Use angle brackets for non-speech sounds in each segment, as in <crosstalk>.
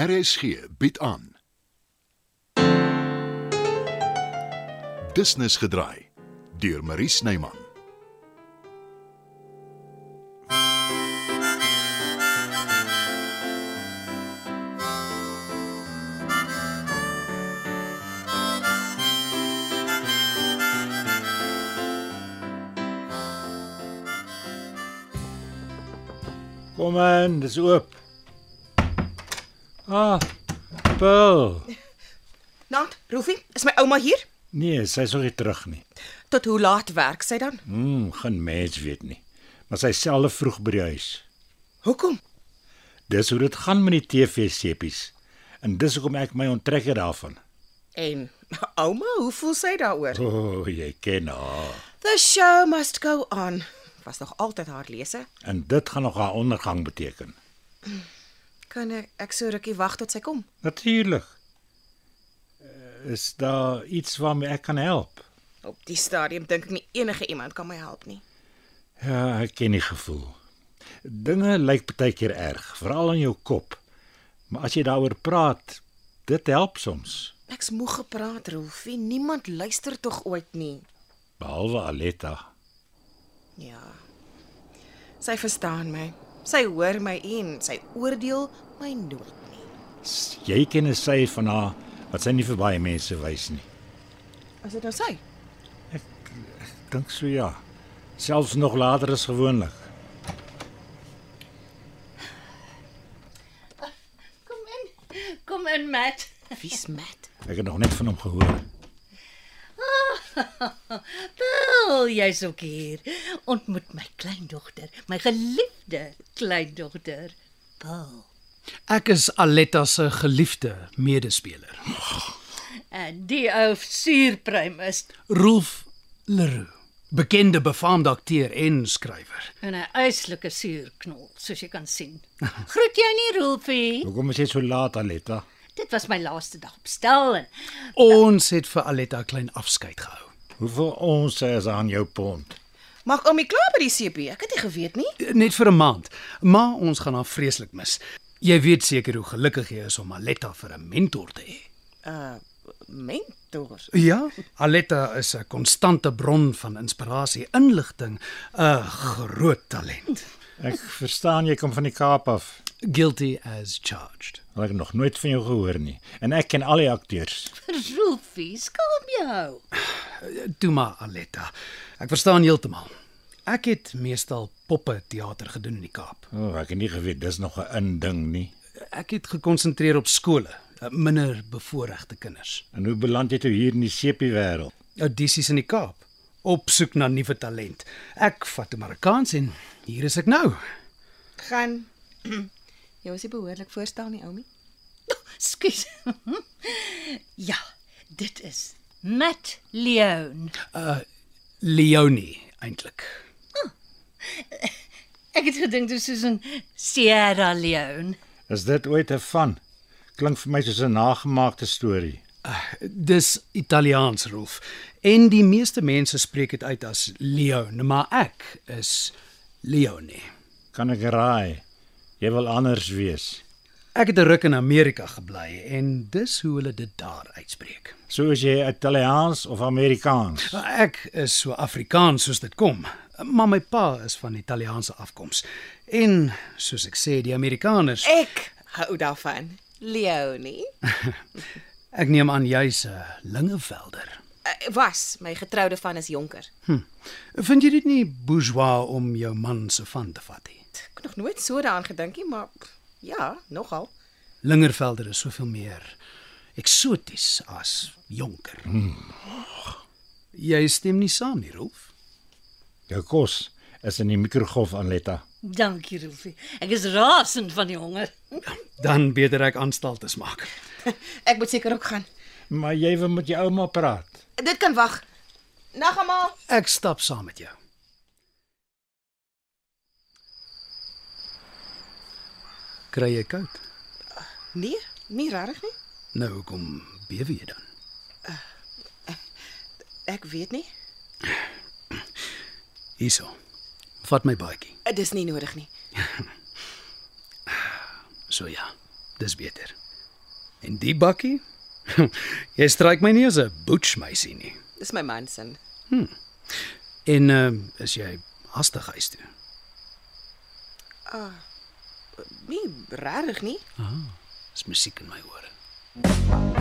RSG bied aan. Business gedraai deur Marie Snyman. Kom in, dis oop. Ah, Paul. Nant, Rufie, is my ouma hier? Nee, sy's nog nie terug nie. Tot hoe laat werk sy dan? Mm, geen mens weet nie. Maar sy is selfe vroeg by die huis. Hoekom? Dis hoe dit gaan met die TV-seppies. En dis hoekom ek my onttrekker daarvan. En <laughs> ouma, hoe voel sy daaroor? O, oh, jy ken haar. The show must go on. Was nog altyd haar lese. En dit gaan nog haar ondergang beteken. Kan ek, ek so rukkie wag tot sy kom? Natuurlik. Eh, Is daar iets waarmee ek kan help? Op die stadium dink ek nie enige iemand kan my help nie. Ja, ek ken die gevoel. Dinge lyk baie keer erg, veral in jou kop. Maar as jy daaroor praat, dit help soms, Ek's moeg gepraat, Rufie. Niemand luister tog ooit nie. behalwe Aletta. Ja. Sy verstaan my. Sy hoor my en sy oordeel my nooit nie. S- Jy ken 'n sy van haar wat sy nie vir baie mense wys nie. Is dit nou sy? Dink so ja. Selfs nog later as gewoonlik. Kom in. Kom in, Matt. Wie's Matt? Ek het nog net van hom gehoor. Wel, jy's ook hier. Ontmoet my kleindogter, my geliefde kleindogter. Paul. Ek is Aletta se geliefde medespeler, En die ou suurpruim is Rolf Leroux, bekende befaamde akteur en skrywer. 'n uitslike suurknol, soos jy kan sien. Groet jou nie, Rolfie. Hoekom is jy so laat, Aletta? Dit was my laaste dag op stel en Ons het vir Aletta 'n klein afskeid gehou. Hoeveel ons is aan jou pond? Mag oomie klaar by die CP? Ek het nie geweet nie. Net vir 'n maand, maar ons gaan haar vreeslik mis. Jy weet seker hoe gelukkig jy is om Aletta vir 'n mentor te hê. Uh mentor. Ja, Aletta is 'n konstante bron van inspirasie, inligting, 'n groot talent. Ek verstaan jy kom van die Kaap af. Guilty as charged. Al Ek het nog nooit van jou gehoor nie en ek ken al die akteurs. Rolfie, skaam jou. Toe maar Aletta. Ek verstaan heeltemal. Ek het meestal poppe teater gedoen in die Kaap. O, oh, ek het nie geweet dis nog 'n inding nie. Ek het gekonsentreer op skole, eh, minder bevoorregte kinders. En hoe beland jy toe hier in die sepie wêreld? Audisies in die Kaap, op soek na nuwe talent. Ek vat Amerikaans en hier is ek nou. gaan <clears throat> Jy was nie behoorlik voorstel nie, oumie. Skus. <laughs> ja, dit is Matt Leon. Leonie eintlik. Ek het gedink dit is soos in Sierra Leone. Is dit ooit 'n van? Klink vir my soos 'n nagemaakte storie. Dis Italiaans Rolf. En die meeste mense spreek dit uit as Leon, maar ek is Leonie. Kan ek raai? Jy wil anders wees. Ek het 'n ruk in Amerika gebly en dis hoe hulle dit daar uitspreek. Soos jy Italiaans of Amerikaans. Nou, Ek is so Afrikaans soos dit kom, maar my pa is van Italiaanse afkoms. En soos ek sê, die Amerikaners, Ek hou daarvan. Leonie ek neem aan jy's 'n lingevelder. uh, was my getroude van is jonker. Vind jy dit nie bourgeois om jou man se van te vat nie? Ek het nog nooit so daaraan gedink nie, maar pff, ja, nogal. Lingervelder is soveel meer eksoties as jonker. Jy stem nie saam nie, Rolf? Jou kos is in die mikrogolf aan Letta. Dankie, Rolfie. Ek is rasend van die honger. Dan beter ek aanstaltes maak. Ek moet seker ook gaan. Maar jy wil met jou ouma praat. Dit kan wag. Nag almal. Ek stap saam met jou. Kry jy koud? Nee, nie regtig nie. Nou hoekom bewe jy dan? Ek weet nie. Hierso. Vat my baadjie. Eh, Uh, Dis nie nodig nie. So ja, dis beter. En die bakkie? <laughs> Jy stryk my nie as 'n butch meisie nie. Dis my man se. En uh, is jy hastig huis toe? Nee, regtig nie. Dis musiek in my ore.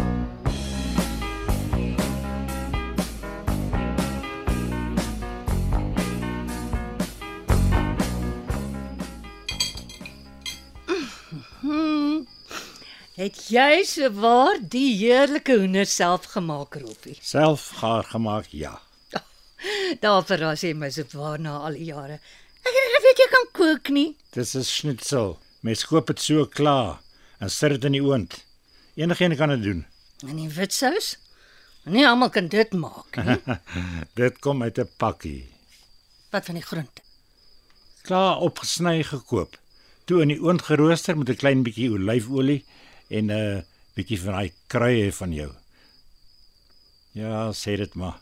Het jy se waar die heerlike hoender self gemaak, Rolfie? Self gaar gemaak, ja. Daar verras jy my so waar na al die jare. Ek het nie geweet jy kan kook nie. Dis 'n schnitzel. Mens koop dit so klaar en sit dit in die oond. Enigeen kan dit doen. En die wit sous? Nie almal kan dit maak nie. Dit kom uit 'n pakkie. Wat van die groente? Klaar opgesny gekoop. Toe in die oond gerooster met 'n klein bietjie olyfolie en 'n bietjie van daai kruie van jou. Ja, sê dit maar.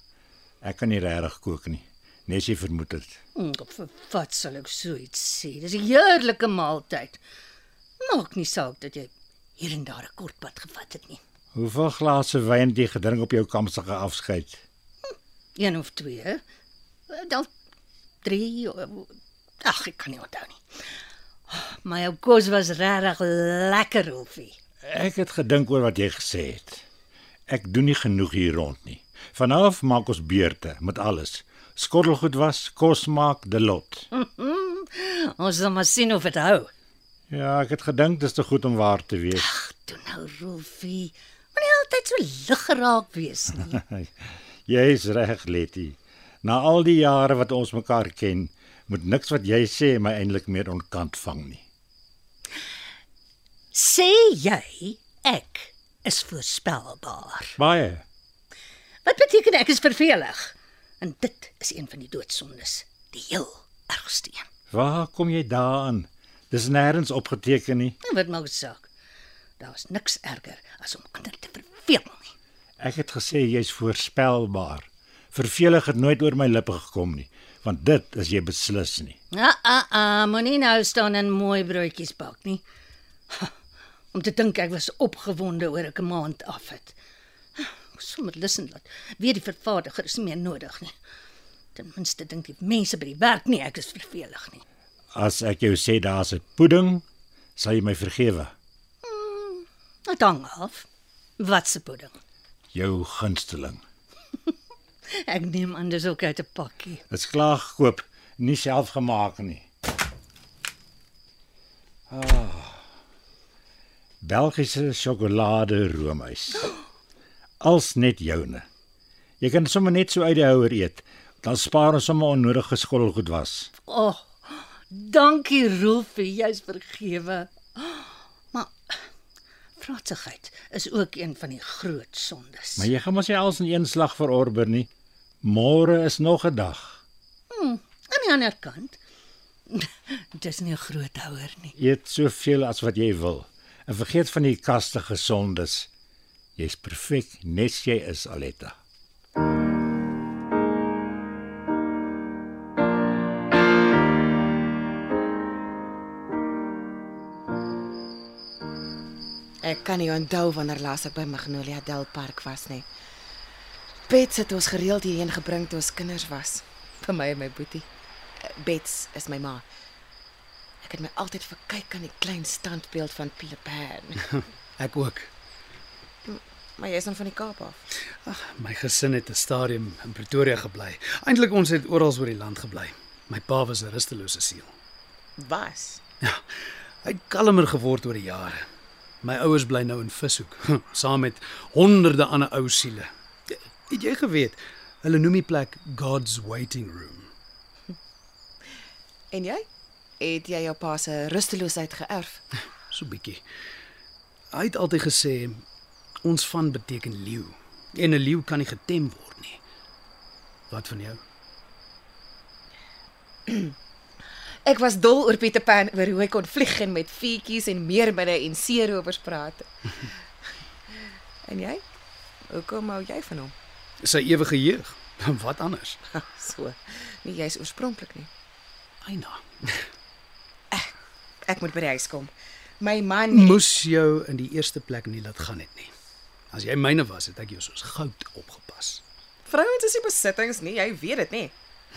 Ek kan nie regtig kook nie. Net as jy vermoed het. Hm, vir wat sal ek so iets sê? Dis 'n heerlike maaltyd. Maak nie saak dat jy hier en daar 'n kort pad gevat het nie. Hoeveel glase wyn het jy gedrink op jou kamsige afskeid? Een of twee. hè? Dan drie. Ag, ek kan nie onthou nie. Ah, Maar jou kos was regtig lekker, Rolfie. Ek het gedink oor wat jy gesê het. Ek doen nie genoeg hier rond nie. Vanaf maak ons beurte met alles. Skottelgoed was, kos maak, die lot. Mm, Ons sal maar sien of dit hou. Ja, ek het gedink dis te goed om waar te wees. Toe nou, Rolfie. Moenie altyd so lig geraak wees nie. Jy's reg, Letty. Na al die jare wat ons mekaar ken, moet niks wat jy sê my eintlik meer onkant vang nie. Sê jy ek is voorspelbaar. Baie. Wat beteken ek is vervelig? En dit is een van die doodsondes, die heel ergste een. Waar kom jy daaraan? Dis nêrens opgeteken nie. En Nou, wat maak dit saak? Daar's niks erger as om ander te verveel nie. Ek het gesê jy's voorspelbaar. Vervelig het nooit oor my lippe gekom nie, want dit is jy beslis nie. Ah ah ah, moenie nou staan en mooi broodjies bak nie. Ha, Om te dink ek was opgewonde oor ek 'n maand af het. Ah, Ek Sommer lussen laat. Weer die vervaardiger is nie meer nodig nie. Ten minste dink die mense by die werk nie ek is vervelig nie. As ek jou sê daar's 'n pudding, sal jy my vergewe. Dit hang af. Wat se pudding? Jou gunsteling. Ek neem anders ook uit 'n pakkie. Dit's klaar gekoop, nie self gemaak nie. Ah. Belgiese sjokolade roomys. Als net joune. Jy kan sommer net so uit die houer eet. Dan spaar ons sommer onnodige skottelgoed was. O, oh, dankie Rolfie, jy's vergewe. Maar vraatsigheid is ook een van die groot sondes. Maar jy gaan mos nie alles in een slag verorber nie. Môre is nog 'n dag. Aan die ander kant, <laughs> dis nie 'n groot houer nie. Eet soveel as wat jy wil en vergeet van die kaste gesondes. Jy's perfek net soos jy is, Aletta. Ek kan nie onthou wanneer laas ek by Magnolia Del Park was nie. Bets het ons gereeld hierheen gebring toe ons kinders was, vir my en my boetie. Eh, Bets is my ma. Ek het my altyd verkyk aan die klein standbeeld van Peter <laughs> Pan. Ek ook. maar jy is dan van die Kaap af. Ag, my gesin het 'n stadium in Pretoria gebly. Eintlik ons het oral oor die land gebly. My pa was 'n rustelose siel. Was. Hy het kalmer geword oor die jare. My ouers bly nou in Vishoek, <laughs> saam met honderde ander ou siele. Het jy geweet, hulle noem die plek God's waiting room. En jy? Het jy jou pa se rusteloosheid geërf? So bietjie. Hy het altyd gesê ons van beteken leeu en 'n leeu kan nie getem word nie. Wat van jou? <laughs> Ek was dol oor Peter Pan oor hoe hy kon vlieg en met vuurtjies en meerminne en seerowers <laughs> praat. en jy? Hoekom hou jy van hom? Sy ewige jeug. <laughs> Wat anders? so. Nee, jy's oorspronklik nie. Eina. Ek moet by die huis kom. My man het- moes jou in die eerste plek nie laat gaan het nie. As jy myne was, het ek jou soos goud opgepas. Vrouens is nie besittings nie, jy weet dit nee.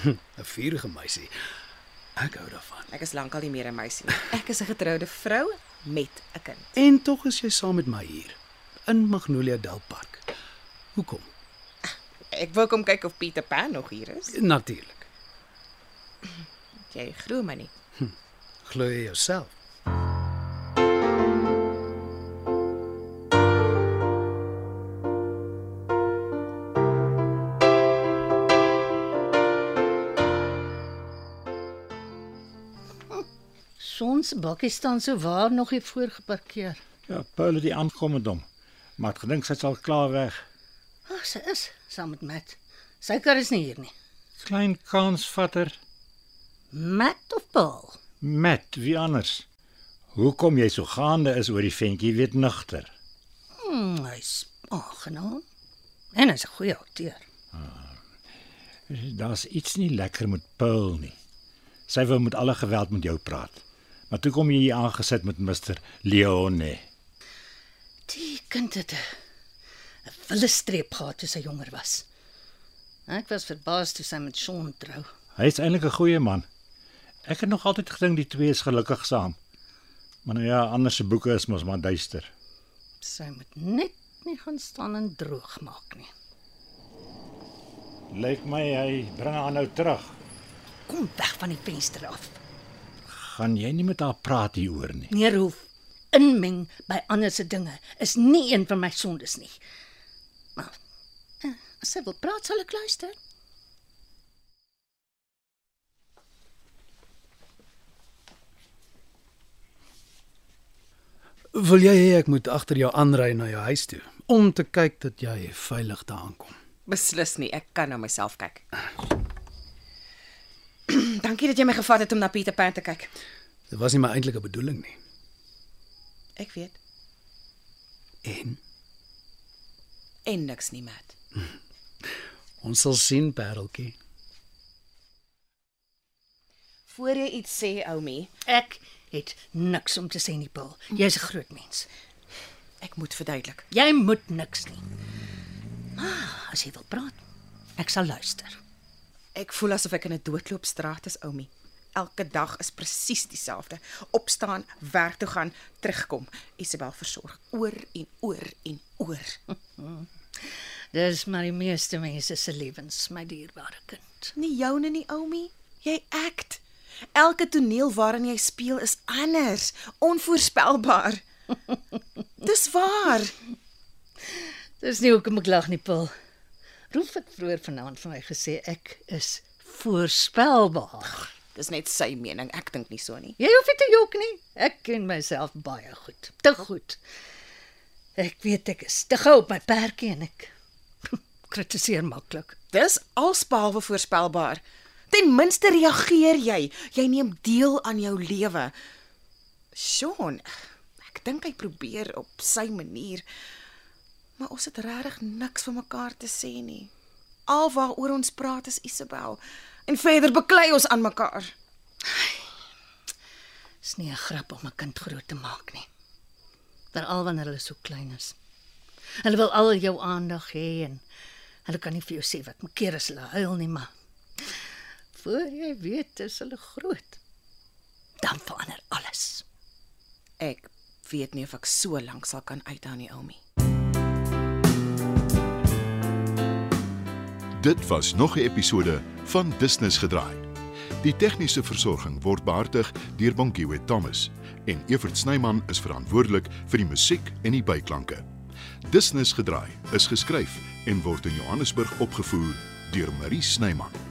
nie. 'n Vurige meisie. Ek hou daarvan. Ek is lankal nie meer 'n meisie nie. Ek is 'n getroude vrou met 'n kind. En tog is jy saam met my hier in Magnolia Del Park. Hoekom? Ek wou kom kyk of Pieter Pan nog hier is. Natuurlik. Jy glo my nie. Glo jy jouself? Sonsbakkie staan so waar nog hier voor geparkeer. Ja, Paul het die aankom met hom. Maar ek gedink sy's al klaar weg. Ag, Ah, sy is saam met Matt. Sy kar is nie hier nie. Klein kansvatter Matt of Paul? Matt, wie anders? Hoekom jy so gaande is oor die ventjie weet nigter. Hmm, hy's aangenaam. En hy's 'n goeie akteur. Daar's iets nie lekker met Paul nie. Sy wou met alle geweld met jou praat. Maar toe kom jy hier aangesit met Mr. Leone. Die kind het 'n wille streep gehad toe sy jonger was. Ek was verbaas toe sy met Sean trou. Hy's eintlik 'n goeie man. Ek het nog altyd gedink die twee is gelukkig saam. Maar nou ja, ander se boeke is mos maar duister. Sy moet net nie gaan staan en droog maak nie. Lyk my hy bring haar nou terug. Kom weg van die venster af. Gaan jy nie met haar praat hieroor nie? Meneer Hoef, inmeng by ander se dinge is nie een van my sondes nie. Maar eh, as sy wil praat, sal ek luister. Wil jy hê ek moet agter jou aanry na jou huis toe om te kyk dat jy veilig daar aankom? Beslis nie, ek kan na myself kyk. <clears throat> Dankie dat jy my gevat het om na Pieter Pan te kyk. Dit was nie my eintlike bedoeling nie. Ek weet En en niks nie, Matt. ons sal sien, Pareltjie. Voor jy iets sê, Oumi, Ek het niks om te sê nie, Paul. Jy's 'n groot mens. ek moet verduidelik. Jy moet niks nie. Maar as jy wil praat, ek sal luister. Ek voel asof ek in 'n doodloopstraat is, Oumi. Elke dag is presies dieselfde. Opstaan, werk toe gaan, terugkom. Isabel versorg oor en oor en oor. <laughs> Dis maar die meeste mense se lewens, my dierbare kind. Nie joune nie, Oumi. Jy act. Elke toneel waarin jy speel is anders, <laughs> onvoorspelbaar. Dis waar. Dis nie hoekom ek lag nie, Paul. Roep het vroeër vanaand vir my gesê ek is voorspelbaar. Dis net sy mening. Ek dink nie so nie. Jy hoef nie te jok nie. Ek ken myself baie goed. Te goed. Ek weet ek is te gou op my perdjie en ek <laughs> kritiseer maklik. Dis alsbehalwe voorspelbaar. Ten minste reageer jy. Jy neem deel aan jou lewe. Sean, ek dink hy probeer op sy manier. Maar ons het regtig niks vir mekaar te sê nie. Alwaaroor ons praat is Isabel en verder beklei ons aan mekaar. Dis nie 'n grap om 'n kind groot te maak nie. Veral wanneer hulle so klein is. Hulle wil al jou aandag hê en hulle kan nie vir jou sê wat moet keer as hulle huil nie, maar voor jy weet is hulle groot. Dan verander alles. Ek weet nie of ek so lank sal kan uithou nie, Oumi. Dit was nog 'n episode van Business gedraai. Die tegniese versorging word behartig deur Bonnie Witt Thomas en Evert Snyman is verantwoordelik vir die musiek en die byklanke. Business gedraai is geskryf en word in Johannesburg opgevoer deur Marie Snyman.